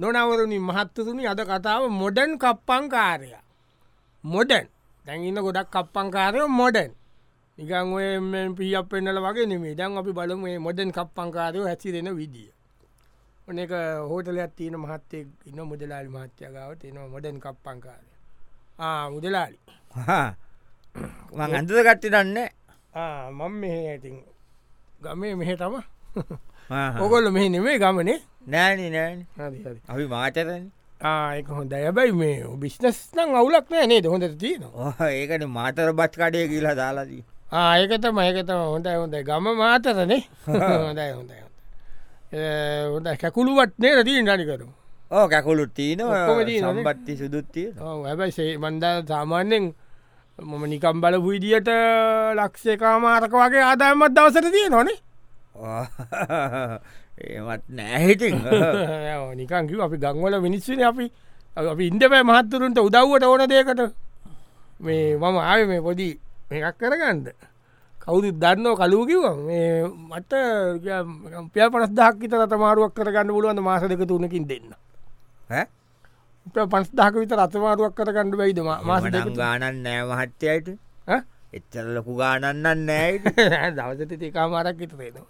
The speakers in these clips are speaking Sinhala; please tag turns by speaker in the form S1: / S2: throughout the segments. S1: නොනවරුණින් මහත්තතුනි අද කතාව මොඩන් කප්පංකාරය මොඩන් දැඟන්න ගොඩක් කප්පංකාරය මොඩන් නිකන් ඔය පිය පෙන්නල වගේ නෙමේ දන් අපි බලු මේ මොඩන් කප්පංකාරයෝ හැසි දෙෙන විදිිය ඕන එක හෝටලයක් තියෙන මහත්තේ ඉන්න මුදලාලි මහත්‍යයගාවට එනවා මොඩන් කප්පංකාරය මුදලාලි
S2: මං අන්දද කට්ටිටන්න
S1: මං මෙහ ඇති ගමේ මෙහ තම ඔකොල්ල මෙහි නෙමේ ගමනේ
S2: නෑන නෑන
S1: හරි හරි
S2: අපි මාචතන
S1: ආයක හොඳ ඇබයි මේ බිස්නස් නම් අවුලක් නෑ නේ හොඳ තියනවා
S2: ඒකට මාතර බත් කඩය කියලා දාලාදී
S1: ආයකතම ඒකතම හොඳයි හොඳයි ගම මාතරනේ හොඳයි හොඳයි හොඳයි. හොඳ කැකුළුවත් නේ තිී නිකරු
S2: ඕ කැකුළුත් තියන
S1: ඔක්කොම තියෙනවා නේ.
S2: සම්බත්ති සුදුත්තිය
S1: හැබයි සේ මන්දා සාමාන්‍යෙන් මොම නිකම් බල විඩියට ලක්ෂේකාමාරක වගේ ආදායමත් දවසට තිය නොනේ
S2: ඒමත් නෑහිටින්
S1: නිකංකිව අපි ගංවල මිනිස්සන අපි අපි ඉන්ඩපෑ මහත්තුරුන්ට උදව්වට ඕන දෙකට මේ මම ආය මේ පොඩි එකක් කරගන්න කවුදු දන්නෝ කලූකිව මේ මට පිය පනස් දක්කිත රතමාරුවක් කරගන්න පුළුවන් මාස දෙක තුනකින් දෙන්න පන්ස් දහක විත රතමාරුවක් කරගන්න බයිද මා- මාස දෙක
S2: මනම්
S1: තුන.
S2: ගානන් නෑ මහත්තයට
S1: ඈ?
S2: එච්චර ලොකු ගානන්න නෑ
S1: නෑ, දවසට ඒකාමාරක් විතරේනවා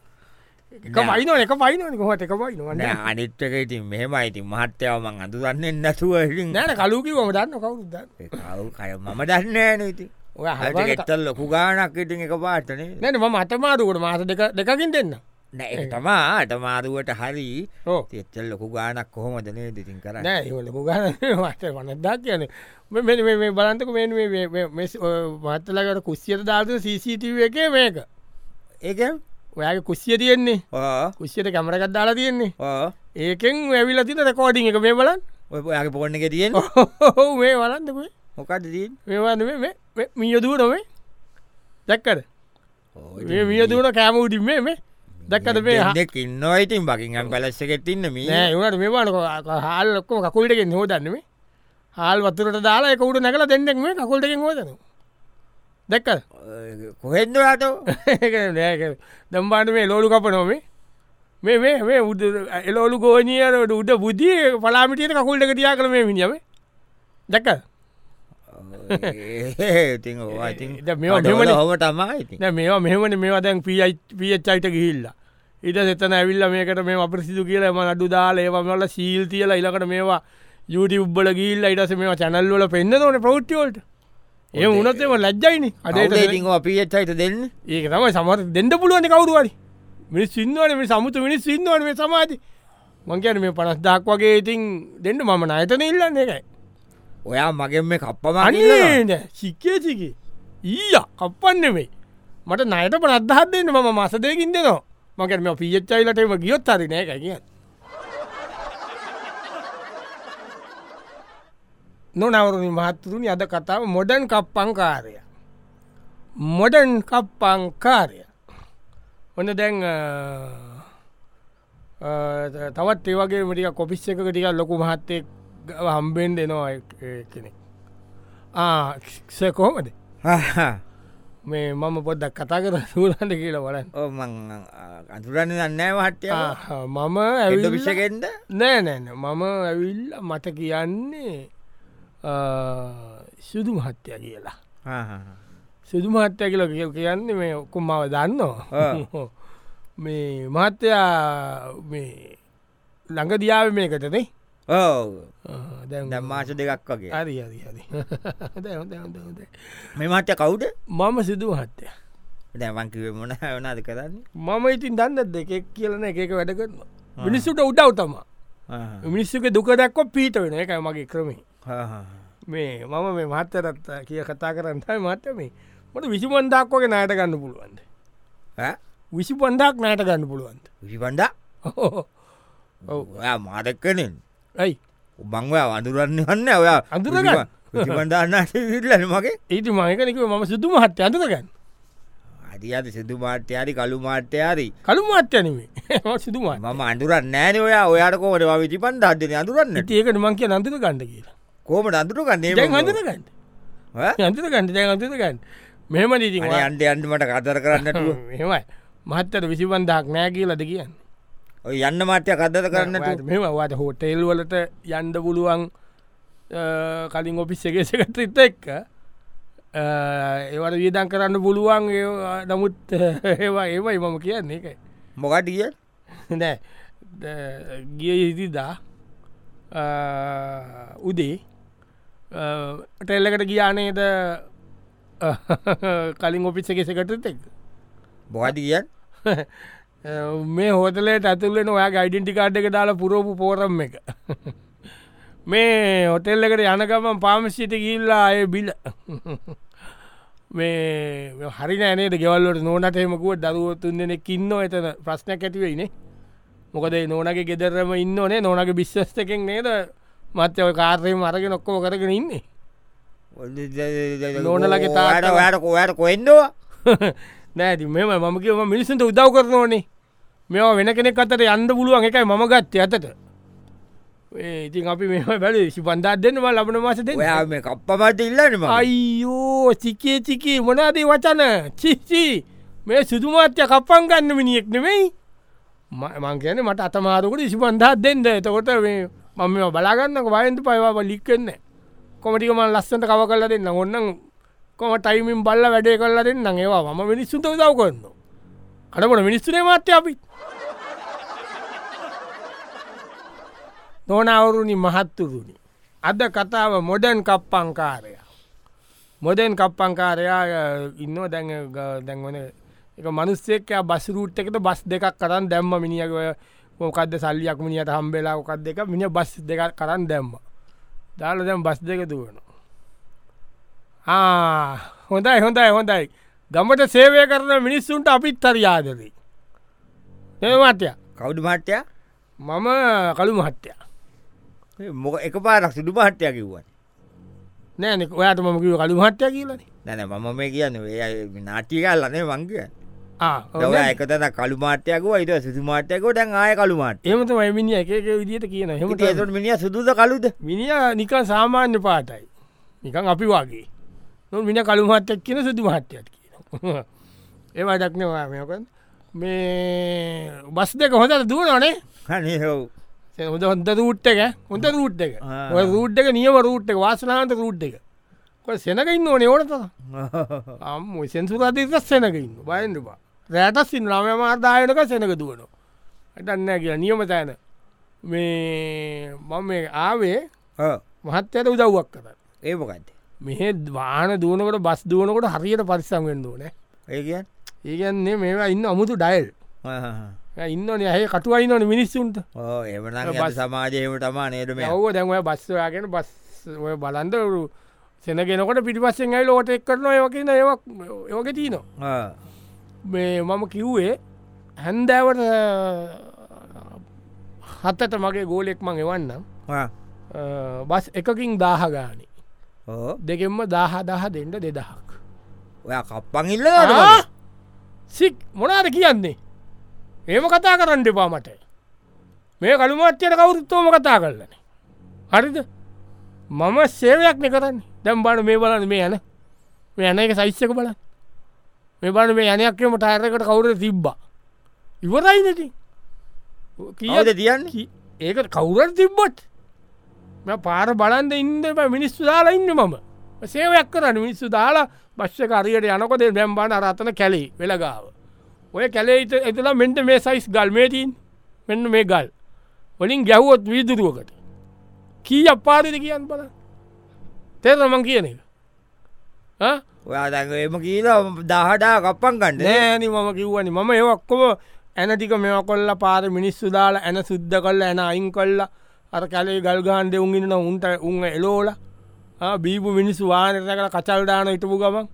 S1: එක පයිනෝ එක පයිනෝ කොහට එක පයිනවන්න
S2: අනිත්තක ඉතින් මෙහෙම ඉතින් මහත්තයාව මං අඳුරන්නෙන් නැතුව ඉතින්
S1: නෑන කලූකිවම දන්න කවුරුද
S2: කවු කය මම දන්නෑන ඉති
S1: ඔය
S2: එත්තල් ලොකු ගානක් ඉතින් එක පාටනේ
S1: නැන ම අතමාරුකට මාස දෙක දෙකකින් දෙන්න
S2: නෑ තමා අටමාරුවට හරි
S1: ඕ
S2: එච්චල් ලොකු ගානක් කොහොමදනේ දෙතින් කර
S1: නෑ ඒවල ගන මට වනදා කියන මේ බලන්තක මේ මත්තලකට කුස්සියට ධාතු CCTV එක මේක
S2: ඒක
S1: ඔයාගේ කුස්සිය තියෙන්නේ
S2: ඕ
S1: කුස්සියට කැමරකත් දාලා තියෙන්නේ
S2: ඕ
S1: ඒකෙන් ඇවිල තින රකෝඩිං එක මේ බලන්
S2: ඔය ඔයාගේ පොන්න එක තියෙන
S1: ඔහු මේ වලන්තකුයි
S2: මොකක්ද තින්
S1: මේවාද මියදූ නොවේ දැක්කද මියදූට කෑම උඩින් මේ මේ දැක්කද මේ හා-
S2: දෙක් ඉන්නවා ඉතින් බකින්ගම් පලස්ස එකෙත් ඉන්න මී
S1: නෑ ඒවට මේවාන හාල් ඔක්කොම කකුල්ටගෙන් හෝදන්නෙමේ හාල් වතුරට දාලා එකකුට නැකල දෙන්නෙක් මේ කකුල්ටකින් හෝදන දැක්ක
S2: කොහෙද යාට
S1: දම්බාට මේ ලෝලු කප නොමේ මේ මේ මේ උද එලෝලු ගෝනියරට උඩ බුද්ධිය පලාමිටියට කකුල්ට තියා කළ මේ මිනිියම දැක්ක
S2: ඉතින් ඕවාඉතින්
S1: දැන් මේවා මෙවනේ.
S2: හොම තමා ඉති
S1: දැ මේවා මෙහමන මේවා දැන් පියච්චයිට ගිහිල්ලා ඉට එතන ඇවිල්ල මේකට මේ අපිසිදු කියලා ම අඩු දාල ඒවමල සීල් තියල ඉලකට මේවා යුටි උබ්බල ගිල්ල ඉටස මේ චැනල්වල පෙන්න්න ඕන ප්‍රෞ්ටියෝල්ට ඒ උනත්ම ලැජ්ජයින අඩ
S2: ඉතින් අපි එච්චයිත දෙන්න
S1: ඒක තමයි සමට දෙන්න පුළුවන කවරුවරි මිනිස් සිින්දුවන මේ සමුතු මිනිස් සිින්දුවන මේ සමාධි මංකන මේ පනස් දක් වගේ ඉතින් දෙන්න මම අයතන ඉල්ලන්න එකයි
S2: ඔයා මගෙන් මේ කප්පමන්නේ
S1: අනේ සිික්කේ සිකි ඊය කප්පන්නෙමේ මට නයට පනත්දහත් දෙන්න ම මස දෙකින් දෙනවා මකට මෙ පිච්චයිලටම ගියොත් හරි නෑ එක කිය නොනවරුණ මහත්තුරුණි අද කතාව මොඩන් කප්පංකාරය මොඩන් කප්පංකාරය ඔන්න දැන් අ, අ, ත- තවත් ඒවගේ මටික කොපිස් එක ටික ලොකු මහත්තෙක් හම්බෙන් දෙනවා එක්- ඒ කෙනෙක් ආක්ෂ කොහොමද මේ මම පොද්දක් කතා කර සූරන්ට කියලා බලන්න
S2: ඕමං අතුරන්න දන්නෑ මහත්තය
S1: ආ, මම
S2: ඇවිල
S1: ඇවිල්ල
S2: පිෂකෙන්ද
S1: නෑ නෑන මම ඇවිල් මට කියන්නේ අ, සුදු මහත්තය කියලා සුදු මහත්තය කියලා කිය කියන්නේ මේ ඔක්කුම් මව දන්නවා
S2: ආ.
S1: මේ මහත්තයා මේ ළඟ දියාව මේකටනේ
S2: ඕ
S1: දැන්
S2: දම්මාස දෙකක් වගේ
S1: හරි හරි හරි හොඳයි, හොඳයි, හොඳයි, හොඳයි.
S2: මේ මහත්‍ය කවුද
S1: මම සිදු මහත්තය
S2: දැවන්කිවේ මොන වනාද කරන්නේ
S1: මම ඉතින් දන්න දෙකෙක් කියලන එකක වැඩකරන්න මිනිස්සුට උඩව් තම මිනිස්සුක දුක දක්ව පීට වෙන එක මගේ ක්‍රමේ මේ මම මේ මහත්තරත් කිය කතා කරන්න මට මේ මට විසි පන්දක් වගේ නයට ගන්න පුළුවන්ද විසි පන්දක් නයට ගන්න පුළුවන්ද
S2: විිපන්ඩ
S1: ඔහෝ. ඔව්
S2: ඔයා මාදක් කනෙන්
S1: ඇයි
S2: උබංව අඳුරන්න වන්න ඔයා
S1: අඳුරගන්න.
S2: විිපන්ඩාන්නට විල්ලන මගේ
S1: ඒති මයකනක මම සිදු මහත්්‍ය අඳකගන්න
S2: අඩි අද සිදු මාට්‍යයාරි කලු මාට්‍යයාරි
S1: කළු මහත්්‍යනීමේ සිදු මහ
S2: මම අඳුරන්න නෑන ඔයා ඔයාට කෝට විිපන්ඩ අධ්‍යන අඳුරන්න
S1: ඒකට මං කිය අඳත ගන්න කියලා
S2: කෝම අඳුරගන්නේ
S1: දැන් අඳත ගන්න අන්තත ගන්න දැන් අන්තත ගන්න මෙම නීති
S2: අන්ඩ අන්ඩමට කතර කරන්නට
S1: මෙමයි මහත්තර විසිබන්දක් නෑ කියලද කියන්න
S2: ඔය යන්න මාට්‍ය කදද කරන්න
S1: මෙමවාට හෝටේල් වලට යන්ඩ පුළුවන් අ, කලින් ඔපිස් එකසකට ඉත එක්ක අ, ඒවට වියදන් කරන්න පුළුවන් ඒ- නමුත් ඒවා ඒවයි මම කියන්නේ එකයි
S2: මොකට කිය
S1: නෑ ද- ගිය ඉදිදා උදේ ටෙල්ලකට ගියානේද අ, කලින් ඔපිස් එකසකට එක්
S2: මොකට කියන්
S1: මේ හෝතලේ ඇතුලෙන ඔයා ගයිඩෙන්ටි කාඩ් එක දාලා පුරෝපු පෝරම් එක මේ හොටෙල් එකට යනකමන් පාමසිට ගිල්ලා අය බිල මේ හරි නෑනේට ගෙවල්ලට නෝනටහෙමකුව දරුවතුන් දෙනෙක් ඉන්න එතන ප්‍රශ්නයක් ඇතිවෙයිනේ මොකද ඒ නෝනගේ ගෙදරම ඉන්න ඕනේ නෝනගේ බිශ්වස්ත එකෙන් නේද මත්‍ය ඔය කාර්යම අරගෙන ඔක්කොම කරගෙන ඉන්නේ නෝනලගේ තාත්තව.
S2: තාට ඔයාට කොයාට කොෙන්දවා
S1: නෑති මෙම මම කියව මිනිසුන්ට උදව් කරන ඕනේ මෙවා වෙන කෙනෙක් අතට යන්න පුළුවන් එකයි මම ගත්ත ඇතට ඒ ඉතින් අපි මෙම බැල සි පන්දාත් දෙන්නම ලබන මාස දෙන්න
S2: ඔයා මේ කප්පමට ඉල්ලනම
S1: අයිෝ චිකේ චිකේ මොනාදේ වචන චිච්චි මේ සුදුමාත්‍ය කප්පන් ගන්න මිනිියෙක් නෙමෙයි මං කියන මට අතමාරකට ඉසි පන්දාත් දෙන්න එතකොට මේ මම මේවා බලාගන්නක වයන්තු පයවා ලික්කෙන්න කොමටික මන් ලස්සට කව කල දෙන්න ඔන්න කොම ටයිමින් බල්ල වැඩේ කල්ලා දෙන්න ඒවා මම මිනිස්සුන්ත දව කරන්න අඩකොට මිනිස්සුනේ මාත්‍ය අපි නොනවුරුණි මහත්තුරුණි අද කතාව මොඩන් කප්පංකාරය මොදෙන් කප්පංකාරයා ඉන්න දැන් ග- දැන් වන එක මනුස්සෙක්ක බස්රූට් එකට බස් දෙකක් කරන්න දැම්ම මිනිියක මොකක්ද සල්ලියක් මිනිියට හම්බෙලා ොකක් දෙක මිනි බස් දෙකක් කරන්න දැම්ම දාල දැම් බස් දෙක දුවන හොඳයි හොඳයි හොඳයි ගමට සේවය කරන මිනිස්සුන්ට අපිත් තරයාදරී එමත්ය
S2: කවුඩු මට්ටයා
S1: මම කළු මහත්තය
S2: මොක එක පාරක් සිදු මහට්ටය කිව්වන්
S1: නෑනෙ ඔයාට මම කිව කළු මහත්තය කියලන
S2: නැන මම මේ කියන්න නාටිකල්ලනේ වංගය එකතන කළු මාට්‍යයකුව යිට සිදු මාට්‍යයකෝ දැන් ආය කළු මාට
S1: එමත මයිමිනි එක එක විදිට කියන හෙමට
S2: ඒතුට මිනිිය සුදුද කලුද
S1: මිනිිය නිකන් සාමාන්‍ය පාටයි නිකන් අපි වගේ නො මිනි කළු මහත්තයක් කියන සුදු මහත්තයක් කියන ඒවා දක්නවාමයක මේ බස් දෙක හොඳ දුවනේ
S2: හනේ හෝ
S1: හොඳ හොඳ රූට් එක හොඳ රූට් එක
S2: ආ.
S1: ඔය රූට් එක නියම රූට් එක වාසනාන්ත රූට් එක කොට සෙනකඉන්න ඕනේ ඕනත අම් සෙන්සුරතිත සෙනකඉන්න බයන්නවා රෑට සින්ලාම මාර්දායනක සෙනක දුවනවා ඇටන්න කියලා නියම තෑන මේ මම මේ ආවේ මහත්තයට උදව්වක් කර
S2: ඒමකත්
S1: මෙහෙ වාන දුවනකට බස් දුවනකොට හරියට පරිසංගෙන් දෝන
S2: ඒකන්
S1: ඒගන්නේ මේවා ඉන්න අමුතු ඩයිල් ඉන්න නහ කටුවයි නොන මිනිස්සුන්ට
S2: ඕ එමන
S1: බස්.
S2: සමාජයම තමා නේටම
S1: ඔව දැන්ව බස්සයාගෙන බස් ඔය බලන්දරු සෙනගෙනකොට පිටිපස්සෙන් ඇයි ලෝට එක් කරන යකින්න ඒක් යෝක තියනවා මේ මම කිව්වේ හැන්දෑවට හත්තට මගේ ගෝලෙක් මං එවන්නම් අ, බස් එකකින් දාහගානි
S2: ඕ
S1: දෙකෙන්ම දාහ දහ දෙන්ට දෙදහක්
S2: ඔයා කප්පන් ඉල්ල
S1: ආ! සික් මොනාද කියන්නේ ඒම කතා කරන්න දෙපා මට මේ කළුමත්්‍යයට කවුරුත්තෝම කතා කරලන හරිද මම සේවයක්න කරන්න දැම් බඩ මේ බලන්න මේ යන මේ යන එක සයිස්සක බලන්න මේ බල මේ යනයක්ම ටයරකට කවුර තිබ්බා ඉවරයි නැති
S2: කියද තියන්නේ
S1: කි- ඒක කවුරට තිබ්බොත් මෙ පාර බලන්ද ඉන්න බෑ මිනිස්සු දාලා ඉන්න මම සේවයක් කරන්න මිනිස්සු දාලා භශ්‍යකරයට යනකොද බැම්බාන අරතන කැලේ වෙලගාව ඔය කැලේ ඉත- එතලා මෙන්ට මේ සයිස් ගල්මේටීන් මෙන්න මේ ගල් වලින් ගැහුවොත් වීදුරුවකට කී අපාරිද කියන්න බල තෙරමං කියන එක ආ?
S2: ඔයා දැන් එම කියලා දහටා කප්පන් ගන්න
S1: නෑන මම කිව්වනි මම ඒවක්කොම ඇනටික මෙම කොල්ල පාර මිනිස්සු දාලා ඇන සුද්ධ කල්ල ඇන අයින් කොල්ල අර කැලේ ගල්ගහන්ඩ උන්ගන්න උන්ට උන් එලෝල බීපු මිනිස්සු වානත කළ කචල්දාන ඉටපු ගමන්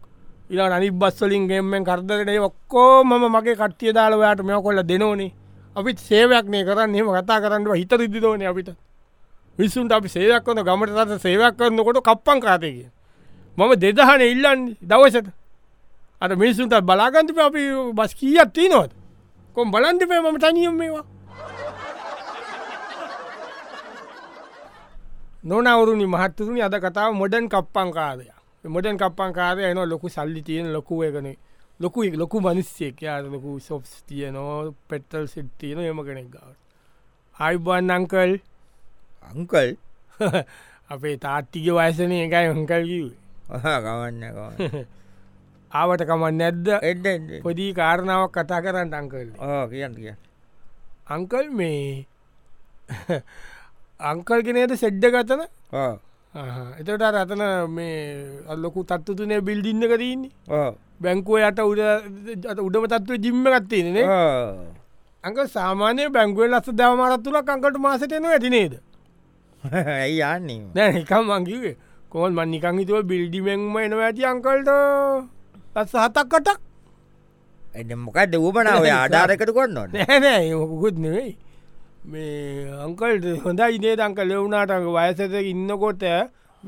S1: ඉලා අනිත් බස්වලින් ගෙම්මෙන් කරදරටේ ඔක්කෝ මම මගේ කට්ටිය දාලවයාට මෙ කොල්ල දෙනෝනේ අපිත් සේවයක්නය කරන්න එම කතා කරන්නව හිත රිදිදෝන අපිට විස්සුන්ට අපි සේවක් වන ගමට තස සේවයක් කරන්නකොට කප්පන් කාතයක මම දෙදහන ඉල්ලන් දවසට අට මිනිසුන්ට බලාගන්තිප අපි බස් කියීයක්ති නොත් කොම් බලන්තිපේ මම තනියම් මේවා නොනවරුණනි මහත්තුරුණි අද කතාව මොඩන් කප්පංකාරය මොඩන් කප්පංකාරය එන ලොකු සල්ලි තියෙන ලොකු එකන ලොකු ලොකු මනිස්සේක යාර ලොකු සොප්ස් තියනෝ පෙටල් සිට්තියන එම කෙනෙක් ගවට අයිබන් අංකල්
S2: අංකල්
S1: අපේ තාත්තික වයසනය එකයි අංකල් කිවේ
S2: ගවන්න
S1: ආවට කමන් නැද්ද
S2: එඩ
S1: පොදී කාරණාවක් කතා කරන්න අංකල්
S2: කියන්න කිය
S1: අංකල් මේ අංකල් කෙනයට සෙඩ්ඩ ගතන
S2: ඕ
S1: එතට රතන මේ අල්ලොකු තත්තුතුනය බිල්ඩින්න කරන්නේ
S2: ඕ
S1: බැංකුව යට උඩ අත උඩම තත්ව ජිම්ම ගත්තේන
S2: ඕ.
S1: අංක සාමානය බැංගුවේ ලස්ස දවමරත්තුල කංකට මාසටයන ඇතිනේද
S2: ඇයි යන්නේ
S1: නෑ නිකම් මංකිවේ කොල් මන් නිකං හිතුව බිල්ඩිමෙන්ම එනවා ඇති අංකල්ට ලස්ස හතක් කටක්
S2: එඩ මොකක්ද වූපනාව ආධාරකට කොන්නොට
S1: නෑනෑ යකුකුත් නෙවෙයි මේ අංකල්ට හොඳ ඉනේ දංක ලෙවුනාටක වයසත ඉන්නකොට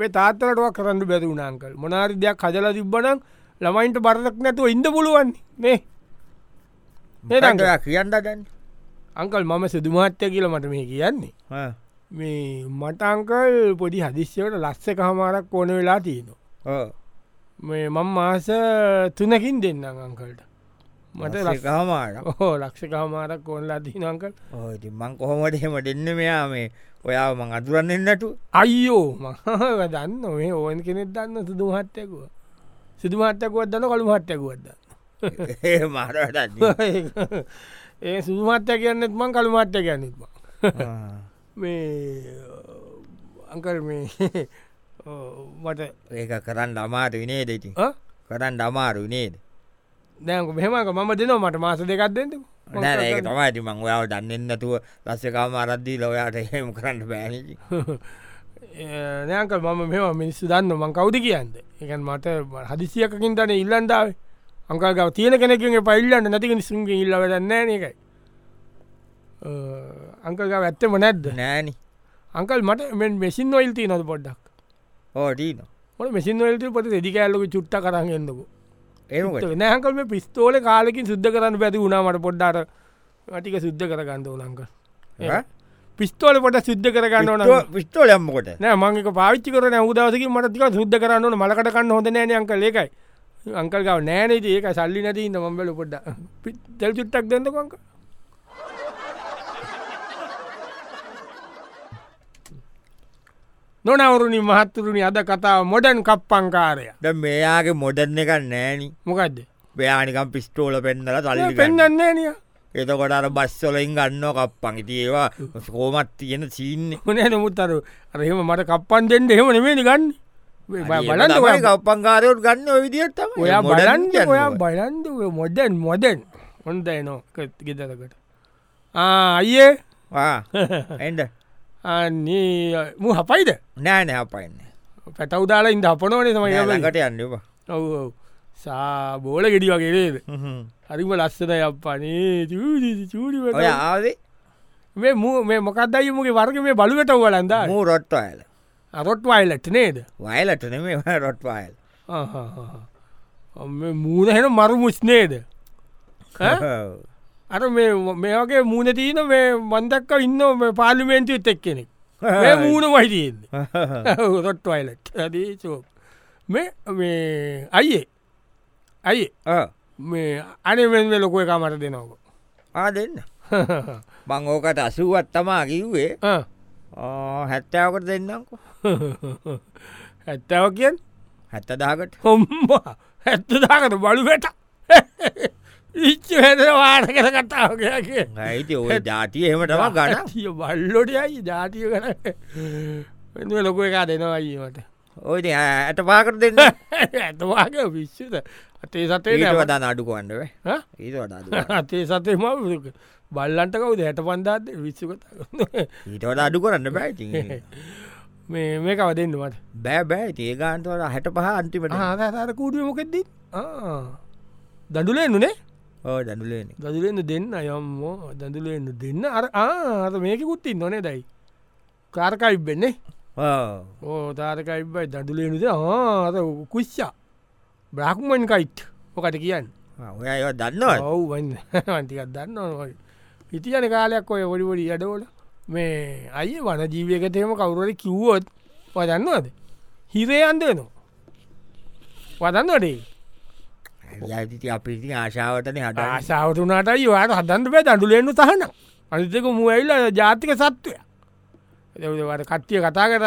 S1: මේ තාත්තරටක් කරන්න බැති වුණංකල් මොනාරි දෙයක් හදලා තිබ්බනං ළමයින්ට බරක් නැතුව ඉන්න පුළුවන් මේ නේද
S2: කියන්න දැන්
S1: අංකල් මම සිදුමහත්්‍ය කියල මට මේ කියන්නේ මේ මට අංකල් පොඩි හදිස්්‍යවට ලස්සක හමාරක් ඕන වෙලා තියෙනවා මේ මං මාස තුනකින් දෙන්න අංකල්ට මට ලස්ස-
S2: ගහමාට
S1: ඔහෝ ලක්ෂක හමාරක් ඕනලා තින අංකල්
S2: ඕති මං කොහොමට එහෙම දෙන්න මෙයා මේ ඔයා මං අතුරන්න එන්නටු
S1: අයියෝ මහව දන්න මේ ඕන් කෙනෙක් දන්න සිදුමහත්තයකුව සිදුමහත්තකුවත් දන්න කළු මහත්තයකුවත්ද
S2: ඒ මාරට
S1: ඒ සුදුමත්ය කියන්නෙත් මං කළු මට්ට කියන්නෙත්ම මේ අංකල් මේ ඔව්, මට
S2: ඒක කරන්න අමාරු විනේ දෙති
S1: ඈ?
S2: කරන්න අමාරු නේද
S1: දැක මෙහමක මම දෙනවා මට මාස දෙකක්දෙන්ට
S2: නෑ ඒක තමයිති මං ඔයාව දන්නන්නතුව ලස්සකාම අරද්දී ලොයාට එහෙම කරන්න බෑනකි
S1: නෑක මම මෙම මිනිස්සු දන්න මං කවුද කියන්ද එකන් මට හදිසියකින් තන ඉල්ලන්ඩාව අංකල්ගව තියෙන කෙනෙකින් පයිල්ලන්න නැතික නිසුන්ගේ ඉල්ල දන්න එකයි අංකල්ගව ඇත්තම නැද්ද
S2: නෑනි
S1: අංකල් මට මෙන් මෙසින් ඔයිල්තිී නොද පොඩ්ඩක්
S2: ඕටීන
S1: ොට මෙසින් ඔල්ට පොට දෙදිකඇල්ලක චුට්ට කරන්නන්නකු
S2: ඒකට
S1: නෑකල් මේ පිස්තෝල කාලකින් සුද්ධ කරන්න පැති වුණාමට පොඩ්ඩාට ටික සුද්ධ කරගන්න ඕනංක
S2: ඈ?
S1: පිස්තෝල පොට සිද්ධ කරගන්න ඕන
S2: පිස්තෝලයම්මකොට
S1: නෑ මංක පාච්චි කරන උදවසක මට තික සුද්ධ කරන්න ඕන මලකට කන්න හොඳ නෑන අංක ලේකයි අංකල්ගව නෑනති ඒක සල්ලි නැති ඉන්න මම්බල පොඩ්ඩ තැල් චුට්ටක් දෙන්නකොංක නොනවරුණි මහත්තුරුණි අද කතාව මොඩන් කප්පංකාරය
S2: ද මෙයාගේ මොඩන්න එක නෑනි
S1: මොකක්ද
S2: ්‍යයානිකම් පිස්ටෝල පෙන්න්නල තල්ලි ගන්න.
S1: පෙන්න්නන්නේ නිය
S2: එතකොට අර බස්සොලින් ගන්න කප්පන් ඉතිඒවා කෝමත් තියෙන චීන්නේ
S1: මොනේ නමුත් අර රහෙම මට කප්පන් දෙෙන්ට එහෙම නෙමේ ගන්න බලන්න ඔයා
S2: කප්පංකාරයෝට ගන්න විදිට
S1: ඔයා බලන්ද ඔයා බලන්ද මොඩන් මොඩන් හොන්ද එනෝ ගෙදරකට අයියේ
S2: එඩ
S1: අන්නේ මු හපයිද
S2: නෑන අපන්න
S1: පැටවදාලා ඉද අපනෝනේ තමයි
S2: කට යන්නවා
S1: ඔව සා බෝල ගෙඩි වගේේද හරිම ලස්සන යපනේ චූඩිව
S2: ඔය ආවේ
S1: මේ මු මේ මොකක්දයි මුගේ වර්ග මේ බලුවට වලන්ද
S2: මූ රොට්ට අයල
S1: අරොට් වයිලට් නේද
S2: වයලටන මේ රොට් වයල්
S1: මූදහෙන මරු මුස්්නේද අර මේ මේ වගේ මූුණ තියන මේ මන්දක්ක ඉන්න මේ පාලිමේන්තු එත් එක් කෙනෙක් මේ මූුණ වහිතයෙන්ද රොට් වයිලට් ඇදේෝ මේ මේ අයියේ අයි මේ අනමෙන් ලොකුව එකමට දෙනවක
S2: ආ දෙන්න මං ඕකට අසුවත් තමා කිව්වේ හැත්තාවකට දෙන්නම්කෝ
S1: ඇත්තාව කියන්
S2: හැත්තදාකට
S1: හොම්බා හැත්තදාකට බලු වැට ඉච්ච වැද වාට කර කතාවකයා කිය
S2: ඇයිති ඔය ජාතිය එහෙමටම ගන්න
S1: ය බල්ලොට අයි ජාතිය කර වෙනුව ලොක එකා දෙනවා අයිීමට
S2: ඔයිති ඇට පාකට දෙන්න
S1: ඇතවාගේ විශ්්‍යත අතේ සතේ
S2: ඒට
S1: නෑ.
S2: වදා නඩු කොන්ඩව
S1: හ?
S2: ඒට වඩා
S1: අතේ සතේ ම බල්ලන්ට කවුද හැට පන්දාත් විශ්ු කතා
S2: ඊට වඩා අඩු කරන්න බෑති
S1: මේ මේ කව දෙන්නවට
S2: බෑ බෑ ඒ ගාන්තවට හැට පහ අන්තිමට
S1: ආතර කූඩුව මොකෙද්දී දඩුලෙන් නුනේ
S2: ඕ දැඩුලන
S1: දදුලෙන්න්න දෙන්න යම්මෝ දඳුලෙන්න්න දෙන්න අර ආත මේකකුත්තින් නොනේ දැයි කාරකයිබ් වෙන්නේ ඕ තාරකයිබයි දඩුලෙනුද ආත කුෂ්ෂා බ්‍රහ්මන් කයිට් මොකට කියන්න
S2: ඔය ඒවා දන්නවත්
S1: ඔවුවන්න වන්ටිකත් දන්න නොයි හිටියන කාලයක් ඔය ඔොඩිවොඩි අඩෝල මේ අය වන ජීවකතයම කවුරට කිව්වොත් පදන්නවද හිරේ අන්දනවා වදන්නටේ
S2: යති අපි ඉතින් ආශාවටන හට
S1: ආසාාවතුනාට යවාට හදන්ට පැ දඩුලෙන්නු තහනම් අනිතක මුවයිල්ල ජාතික සත්වය එවට කට්ටිය කතා කර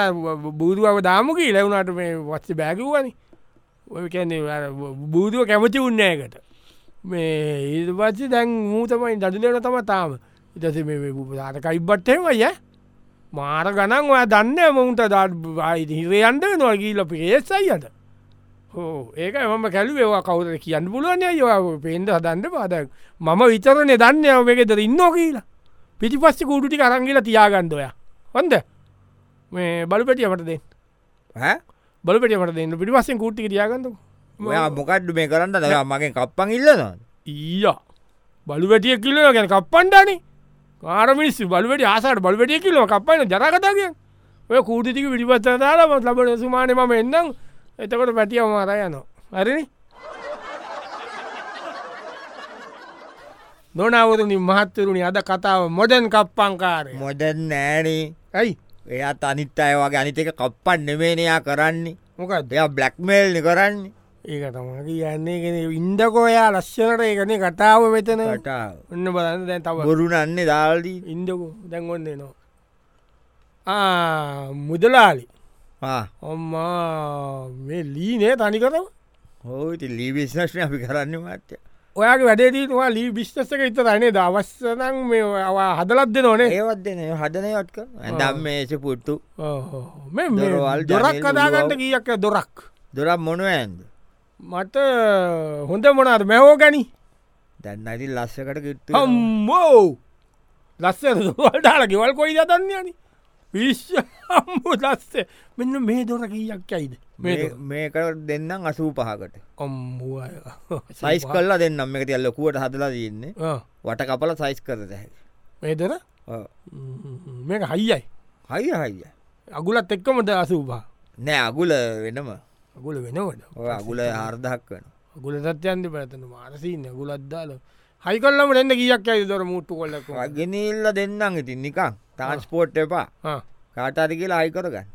S1: බූදුුව දාමකී ලැවුණට මේ වස්ස බෑකිවුවනි ඔයකැන්නේ බූදුව කැමති උන්නේකට මේ ඒ පච්චි දැන් මූතමයි දඩිලන තම තාම ඉතස දාට කයිබ්බට්ටම ය මාර ගණන් ඔය දන්න මොවුන්ට දායි හිරයන්ට නොගීල පිේසයියට හෝ ඒක එම කැලුවේවා කවුර කියන්න පුළුවන් යවා පේන්ද හදන්න පාද මම විචරණය දන්න මේකෙතර ඉන්නෝ කියලා පිටි පස්සි කූටුටි කරංගිලා තියාගන්ඩොයා හොඳ මේ බලපටියමට දෙන්න බලපටියමට දෙන්න පිටි පස්සෙන් කූට්ටි තියාගන්නක
S2: ඔයා මොකඩ්ඩු මේ කරන්න දවා මගේ කප්පන් ඉල්ලනවා
S1: ඊය බලුවැටිය කිල්ලන ගැන කප්පන්ඩාන කාරමිස් බලවට ආසට බලවැටිය කිල්ලව කප්පන්න ජරකතාගය ඔය කූටිතික පිටිපත්ත දාලම ලබට සුමානය මම එන්නම් එතකොට පැටිය මාර යනවා හරි නොනවරනි මහත්තරුණි අද කතාව මොඩන් කප්පංකාරය
S2: මොඩන් නෑනේ
S1: ඇයි
S2: එයා අනිත් අය වගේ අනිතක කප්පන් නෙමේනයා කරන්නේ
S1: මොක
S2: දෙයා බ්ලක්මේල්නි කරන්නේ
S1: ඒක තමකි යන්නේ කෙන ඉන්දකෝයා ලස්සනට ඒකන කතාව මෙතන
S2: කටාව.
S1: ඔන්න බලන්න දැන් තව
S2: බොරුනන්නේ දාල්දී
S1: ඉන්දකු දැන්ගොන්නේ නවා මුදලාලි ඔම්මා මේ ලීනේ තනිකතව
S2: හෝති ලීවිශ්නශ්නය අපි කරන්න මත්‍ය
S1: ඔයාගේ වැඩේදීවා ලී විිශ්ටසක ඉත රනේ දවස්සනං මේ වා හදලත් දෙ නොනේ
S2: ඒවත් දෙන හදනයොත්ක ඇදම් මේස පුට්ටු
S1: මේ
S2: දොරවල්,
S1: දොරක්
S2: ජනේල්,
S1: කදාගන්න
S2: දුරවල්.
S1: කියක් දොරක්
S2: දොරම් මොනුව ඇන්ද
S1: මට හොඳ මොනාද මැහෝ ගැනි
S2: දැන්න අති ලස්සකට කිට්ට
S1: හම්මෝ ලස්සන දොල්ටාල ගෙවල් කොයි දතන්නයන විශ්ෂ හම්මෝ ලස්සේ මෙන්න මේ දොර කීයක් ඇයිද මේ
S2: මේක දෙන්නම් අසූ පහකට
S1: ඔම්බුව
S2: සයිස් කල්ලා දෙන්නම් එක තියල් ලොකුවට හදලා දන්නේ වට කපල සයිස් කර දැ
S1: මේදර මේක හයියි
S2: හයිය හයිය
S1: අගුලත් එක්කමද අසූපා
S2: නෑ අගුල වෙනම
S1: අගුල වෙනවට
S2: ඔය අගුල හාර්දහක් වන
S1: ගුල සත්‍යයන්ද පැතන මාරසින්න ගුලත්දාල හයි කල්ලම රැඩ කියක් ඇයි දොර මුට්ටු කොල්ලක
S2: ගෙනල්ල දෙන්නම් ඉතින් නිකං ට්‍රන්ස්පෝට් එපා කාටාරි කියලා අයිකරගන්න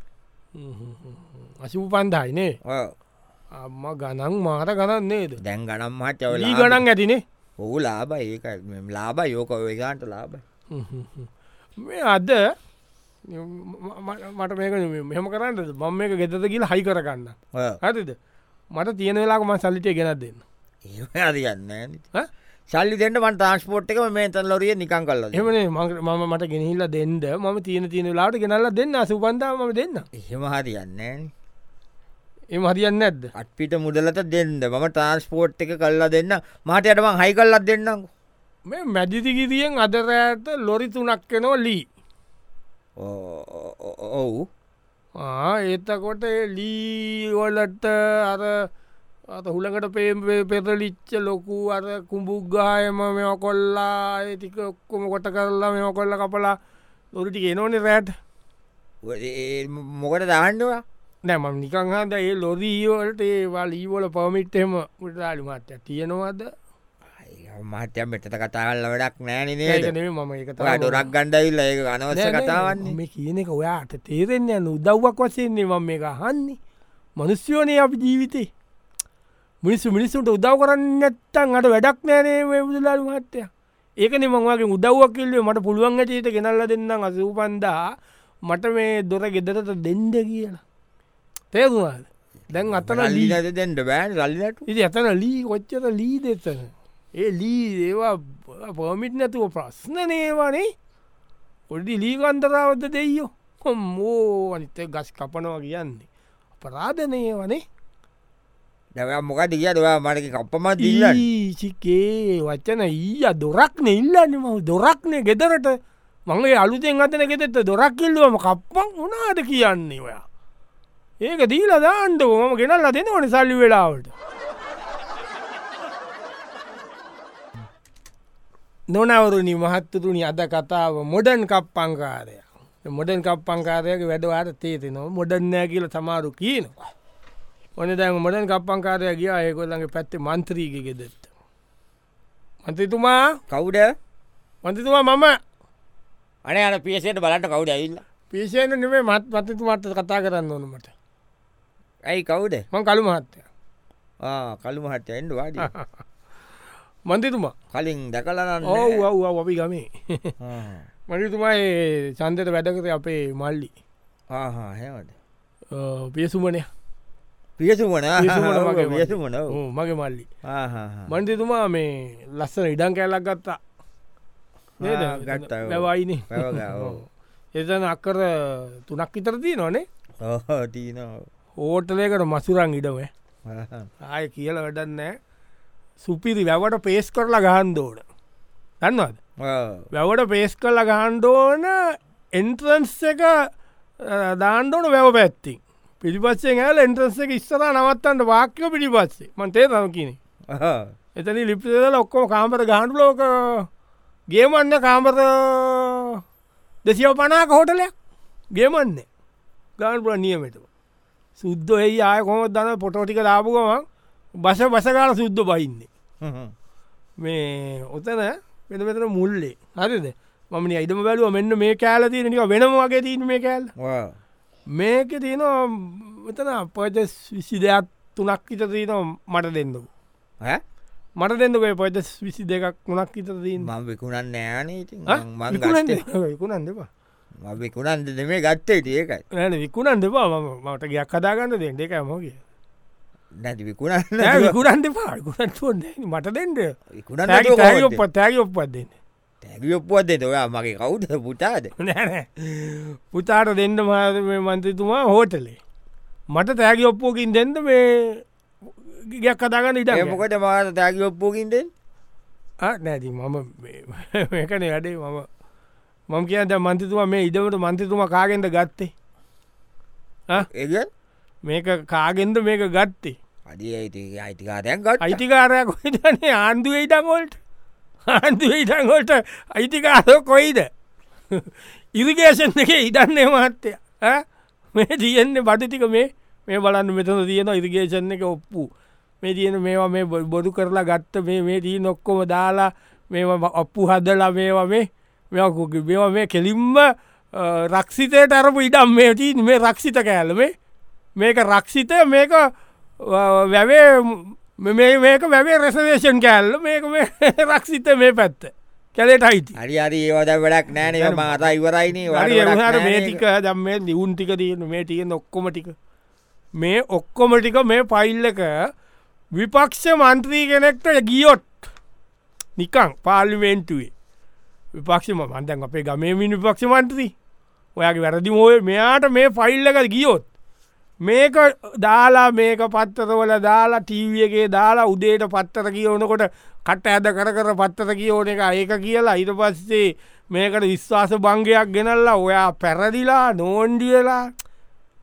S1: අසූ පන්දයිනේ අම්ම ගණන් මාර ගණන් නේද
S2: දැන් ගනම් හට
S1: ලී ගණන් ඇතිනේ
S2: ඔහු ලාබ ඒක ලාබ යෝක ඔයකාන්ට ලාබ
S1: මේ අද මට මේක නෙමෙයි. මෙහෙම කරන්නද මම මේක ගෙතද කියලා හයි කරගන්න හරිද මට තියෙන වෙලාක ම සල්ලිටය ගෙනත් දෙන්න
S2: ඒදන්න
S1: ඈ?
S2: සල්ලි දෙට මන් ට්‍රන්ස්පෝට් එක මේ තන් ලොරිය නිකං කල්ල
S1: එමනේ මම මට ගෙනහිල්ල දෙන්න මම තියෙන තියෙන ලාට ගෙනල්ල දෙන්න සුපන්දාම දෙන්න
S2: එහෙම හරියන්න
S1: එම හරියන්න ඇද
S2: අත්පිට මුදලට දෙන්න මම ට්‍රන්ස්පෝට් එක කල්ලා දෙන්න මට යටම හයි කල්ලත් දෙන්නම්
S1: මේ මැදිතිකිරියෙන් අදරෑට ලොරි තුනක් කෙනෝ ලී
S2: ඔවු
S1: ආ, එතකොට ඒ ලීවලට අර අත හුළඟට පේම් පෙරලිච්ච ලොකු අර කුඹුග්ගායම මෙ කොල්ලා ඒතික ඔක්කොම කොට කරලා මෙ කොල්ල කපලා ලොරිටි එනෝනෙ රෑට
S2: මොකට දාන්නවා
S1: නෑම නිකංහද ඒ ලොරීවලට ඒවා ලීවල පවමිට්ටම පුටාලිමට තියෙනවාද
S2: මහත්‍යම් මෙටට කතාල්ල වැඩක්
S1: ඒක
S2: නෑනනේ
S1: නෙමෙයි මම ඒක
S2: ඩොරක් ගණ්ඩයිල්ල ඒක අනවස කතාවන්නේ
S1: මේ කියනක ඔයාට තේරෙන්නේ යන උදව්වක් වසයන්නේ මම මේ අහන්නේ මනුස්්‍යෝනය අපි ජීවිතේ මිනිස්සු මිනිස්සුන්ට උදව් කරන්න ඇත්තන් අට වැඩක් නෑනේ බුදුලාලු මහත්තය ඒකන මංවාගේ උදව්වක් කිල්ලේ මට පුළුවන් ඇටයට ගෙනල්ල දෙන්නම් අසූපන්දා මට මේ දොර ගෙදරට දෙන්ඩ කියලා තේරුවාද දැන් අතන ලී
S2: ලීනද දෙන්නට බෑන් රල්ලට
S1: ඉති ඇතන ලී කොච්චර ලී දෙතන ඒ ලී ඒවා පොමිට් නැතුව ප්‍රශ්න නේවානේ පොඩි ලීකන්තරාවද දෙයෝ හොම්මෝ අනිත ගස් කපනවා කියන්නේ අපරාධනය වනේ
S2: දැව මොකට කියදවා මටක කප්පමත් ඉල්ල
S1: ඊසිකේ වචන ඊය දොරක්න ඉල්ලන්න ම දොරක්නේ ගෙදරට මගේ අලුතෙන් අතන ගෙතෙත දොරක් කිල්ලුවම කප්පන් උනාද කියන්නේ ඔයා ඒක දීල දාන්ඩුව මම ගෙනල්ල දෙනවන සල්ලි වෙලාවට නොනවරුණි මහත්තතුනි අද කතාව මොඩන් කප්පංකාරය මොඩන් කප්පංකාරයක වැඩවාට තේතෙනවා මොඩන්නෑ කියල සමාරු කියනවා ඕන දැන් මොඩන් කප්පංකාරය ගිය ඒකොල්ලගේ පැත්තේ මන්ත්‍රීග ගෙදෙත්ත. මන්තතුමා
S2: කවුඩ
S1: මන්තතුමා මම
S2: අන අන පිසට බලට කවුඩ ඇල්ල
S1: පිෂයන නෙවේ මත් මතතුමාට කතා කරන්න ඕනමට
S2: ඇයි කවුද
S1: මං කළු මහත්තය
S2: කළු මහට එන්ඩ වාඩ
S1: මන්තිතුමා
S2: කලින් දැකලන්න
S1: ඔව් ඔව් අපි ගමේ මනිතුමා චන්දත වැඩකත අපේ මල්ලි
S2: ආහාහෙමට
S1: පියසුමනය
S2: පියසුමන
S1: පියසුමන වගේ
S2: පියසුමන ඔව්.
S1: ඔව්, මගේ මල්ලි
S2: ආහාහා.
S1: මන්තිතුමා මේ ලස්සන ඉඩන් කැල්ලක් ගත්තා
S2: ආ, ගත්තා, ඔව්.
S1: ලැවයිනේ
S2: පැවගා, ඔව්.
S1: එතන අක්කර තුනක් ඉතරතිී නොනේ
S2: ඔව්, තියනවා.
S1: ඕටලයකට මසුරං ඉඩවේ
S2: ආහා.
S1: ආය කියල වැඩන්නෑ සුපිරි වැවට පේස් කරලා ගහන්දෝන දන්නවද
S2: ඔව්.
S1: වැවට පේස් කරල ගහන්ඩෝන එන්ට්‍රන්ස් එක දාණ්ඩෝන වැව පැත්තින් පිළිපස්සේ ඇල එන්ට්‍රන්ස එක ඉස්සර නවත්තන්ට වාක්‍යෝ පිළිපස්සේ මන්තේ තම කියනෙ
S2: ඔව්.
S1: එතනි ලිපිදල ඔක්කෝ කාමර ගහන්ඩු ලෝක ගේමන්න කාමර දෙසිය පනාක හෝටලයක් ගේමන්නේ ගාන්පුල නියමෙතුව සුද්ද එයි ආයකොම දන පොටෝටික දාපුගමක් බස බසකාල සුද්ද බහින්නේ
S2: හ්ම්.
S1: මේ ඔතන වෙන මෙතන මුල්ලේ හරිද මම ඉඩම බැලුව මෙන්න මේ කෑල තියෙන නික වෙනම වගේ තියන මේ කෑල්
S2: ඔව්.
S1: මේක තියෙනවා මෙතන පොජස් විසි දෙයක් තුනක් ඉත තියෙන මට දෙන්නකු
S2: ඈ?
S1: මට දෙන්නකේ පොජස් විසි දෙකක් මුණක් ඉත තියන්න
S2: මම විකුණන් නෑනේ ඉතින් මං ගත්තේ
S1: විකුණන් දෙපා
S2: මම විකුණන්ද දෙමේ ගත්තේ ඒකයි
S1: නෑන විකුණන් දෙපා මම මට ගයක් කදාගන්න දෙන්න එක මෝගේ
S2: නැති විකුණන්න
S1: විකුණන් දෙපා ගුණන් මට දෙන්ඩ
S2: විකුණන්න
S1: තෑගි ඔපත් තෑගි ඔප්පත් දෙන්න
S2: තැවි ඔප්පුවත් දෙත ඔයා මගේ කවුද පුටාද
S1: නෑ පුතාට දෙන්න මාද මේ මන්තතුමා හෝටලේ මට තෑගි ඔප්පෝකින් දෙන්න මේ ගයක් කතාගන්න ඉට
S2: මොකට මාත තැකි ඔප්පුකින්දෙන්
S1: නෑති මම මේකන වැඩේ මම මම කියද මන්තතුමා මේ ඉඩමට මන්තතුමා කාගෙන්ට ගත්තේ ආ?
S2: ඒ
S1: මේක කාගෙන්ද මේක ගත්තේ
S2: අඩි අයිති අයිතිකාරයන් ගට
S1: අයිතිකාරයක් කොයිදනේ ආන්දුව ඉටංගොල්ට ආන්දුව ඉටංගොල්ට අයිතිකාරෝ කොයිද ඉරිගේෂන් එක ඉඩන්නේ මහත්තය ඈ? මේ තියෙන්නේ බටිටික මේ මේ බලන්න මෙතන තියෙන ඉරිගේෂන් එක ඔප්පු මේ තියෙන මේවා මේ බො- බොදු කරලා ගත්ත මේ මේ දී නොක්කොම දාලා මේ ඔප්පු හදලා මේවා මේ මෙකුකි මේවා මේ කෙලින්ම අ, රක්ෂිතයට අරපු ඉඩම් මේ තිීන් මේ රක්ෂිත කෑල මේ මේක රක්ෂිතය මේක අ, වැවේ ම- මේ මේක වැවේ රෙසවේෂන් කෑල්ල මේක මේ රක්ෂිත මේ පැත්ත කැලෙට අයිති
S2: හරි අරි ඒවද වැඩක් නෑනේ මාත ඉවරයිනේ
S1: හරි එහට මේ ටික දම්ම දියුන් ටික තියෙන මේ තියෙන ඔක්කොම ටික මේ ඔක්කොම ටික මේ පයිල්ලක විපක්ෂ මන්ත්‍රී කෙනෙක්ට ගියොට් නිකං පාර්ලිමේන්ටුවේ විපක්ෂම මන්තන් අපේ ගමේ මිනි විපක්ෂ මන්ත්‍රී ඔයාගේ වැරදි මෝය මෙයාට මේ ෆයිල්ලක ගියොත් මේක දාලා මේක පත්තරවල දාලා ටීවියගේ දාලා උදේට පත්තර කියවනකොට කට ඇද කර කර පත්තර කියෝන එක ඒක කියලා ඉට පස්සේ මේකට විශ්වාස බංගයක් ගෙනල්ලා ඔයා පැරදිලා නෝන්ඩියලා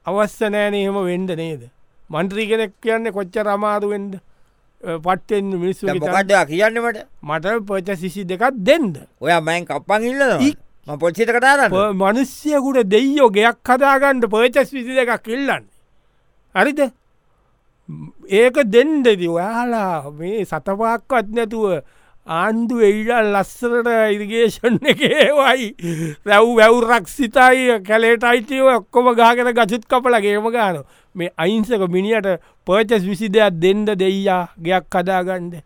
S1: අවස්්‍ය නෑන එහෙම වෙන්ඩ නේද මන්ත්‍රී කෙනෙක් කියන්නේ කොච්ච රමාරු වෙන්ඩ පට්ටෙන් මිනිස්සු
S2: මොකටද කියන්නමට
S1: මට පච සිසි දෙකක් දෙන්න
S2: ඔයා මයින් කප්පන් ඉල්ලනවා පොච්චිත කටාරන්න
S1: මනුස්්‍යයකුට දෙයෝ ගෙයක් හදාගන්නට පර්චස් විසි දෙකක් කිල්ලන්න හරිද ඒක දෙන්ඩදි ඔයාලා මේ සතපාක්වත් නැතුව ආණ්ඩු එයිඩල් ලස්සරට ඉරිගේෂන් එකේවයි රැව් වැැව් රක්සිතයි කැලේට අයිතිව ඔක්කොම ගාගෙන ගචුත් කපල ගේම ගාන මේ අයින්සක මිනිට පර්චස් විසි දෙයක් දෙන්ඩ දෙයියා ගයක් කදාගන්ඩ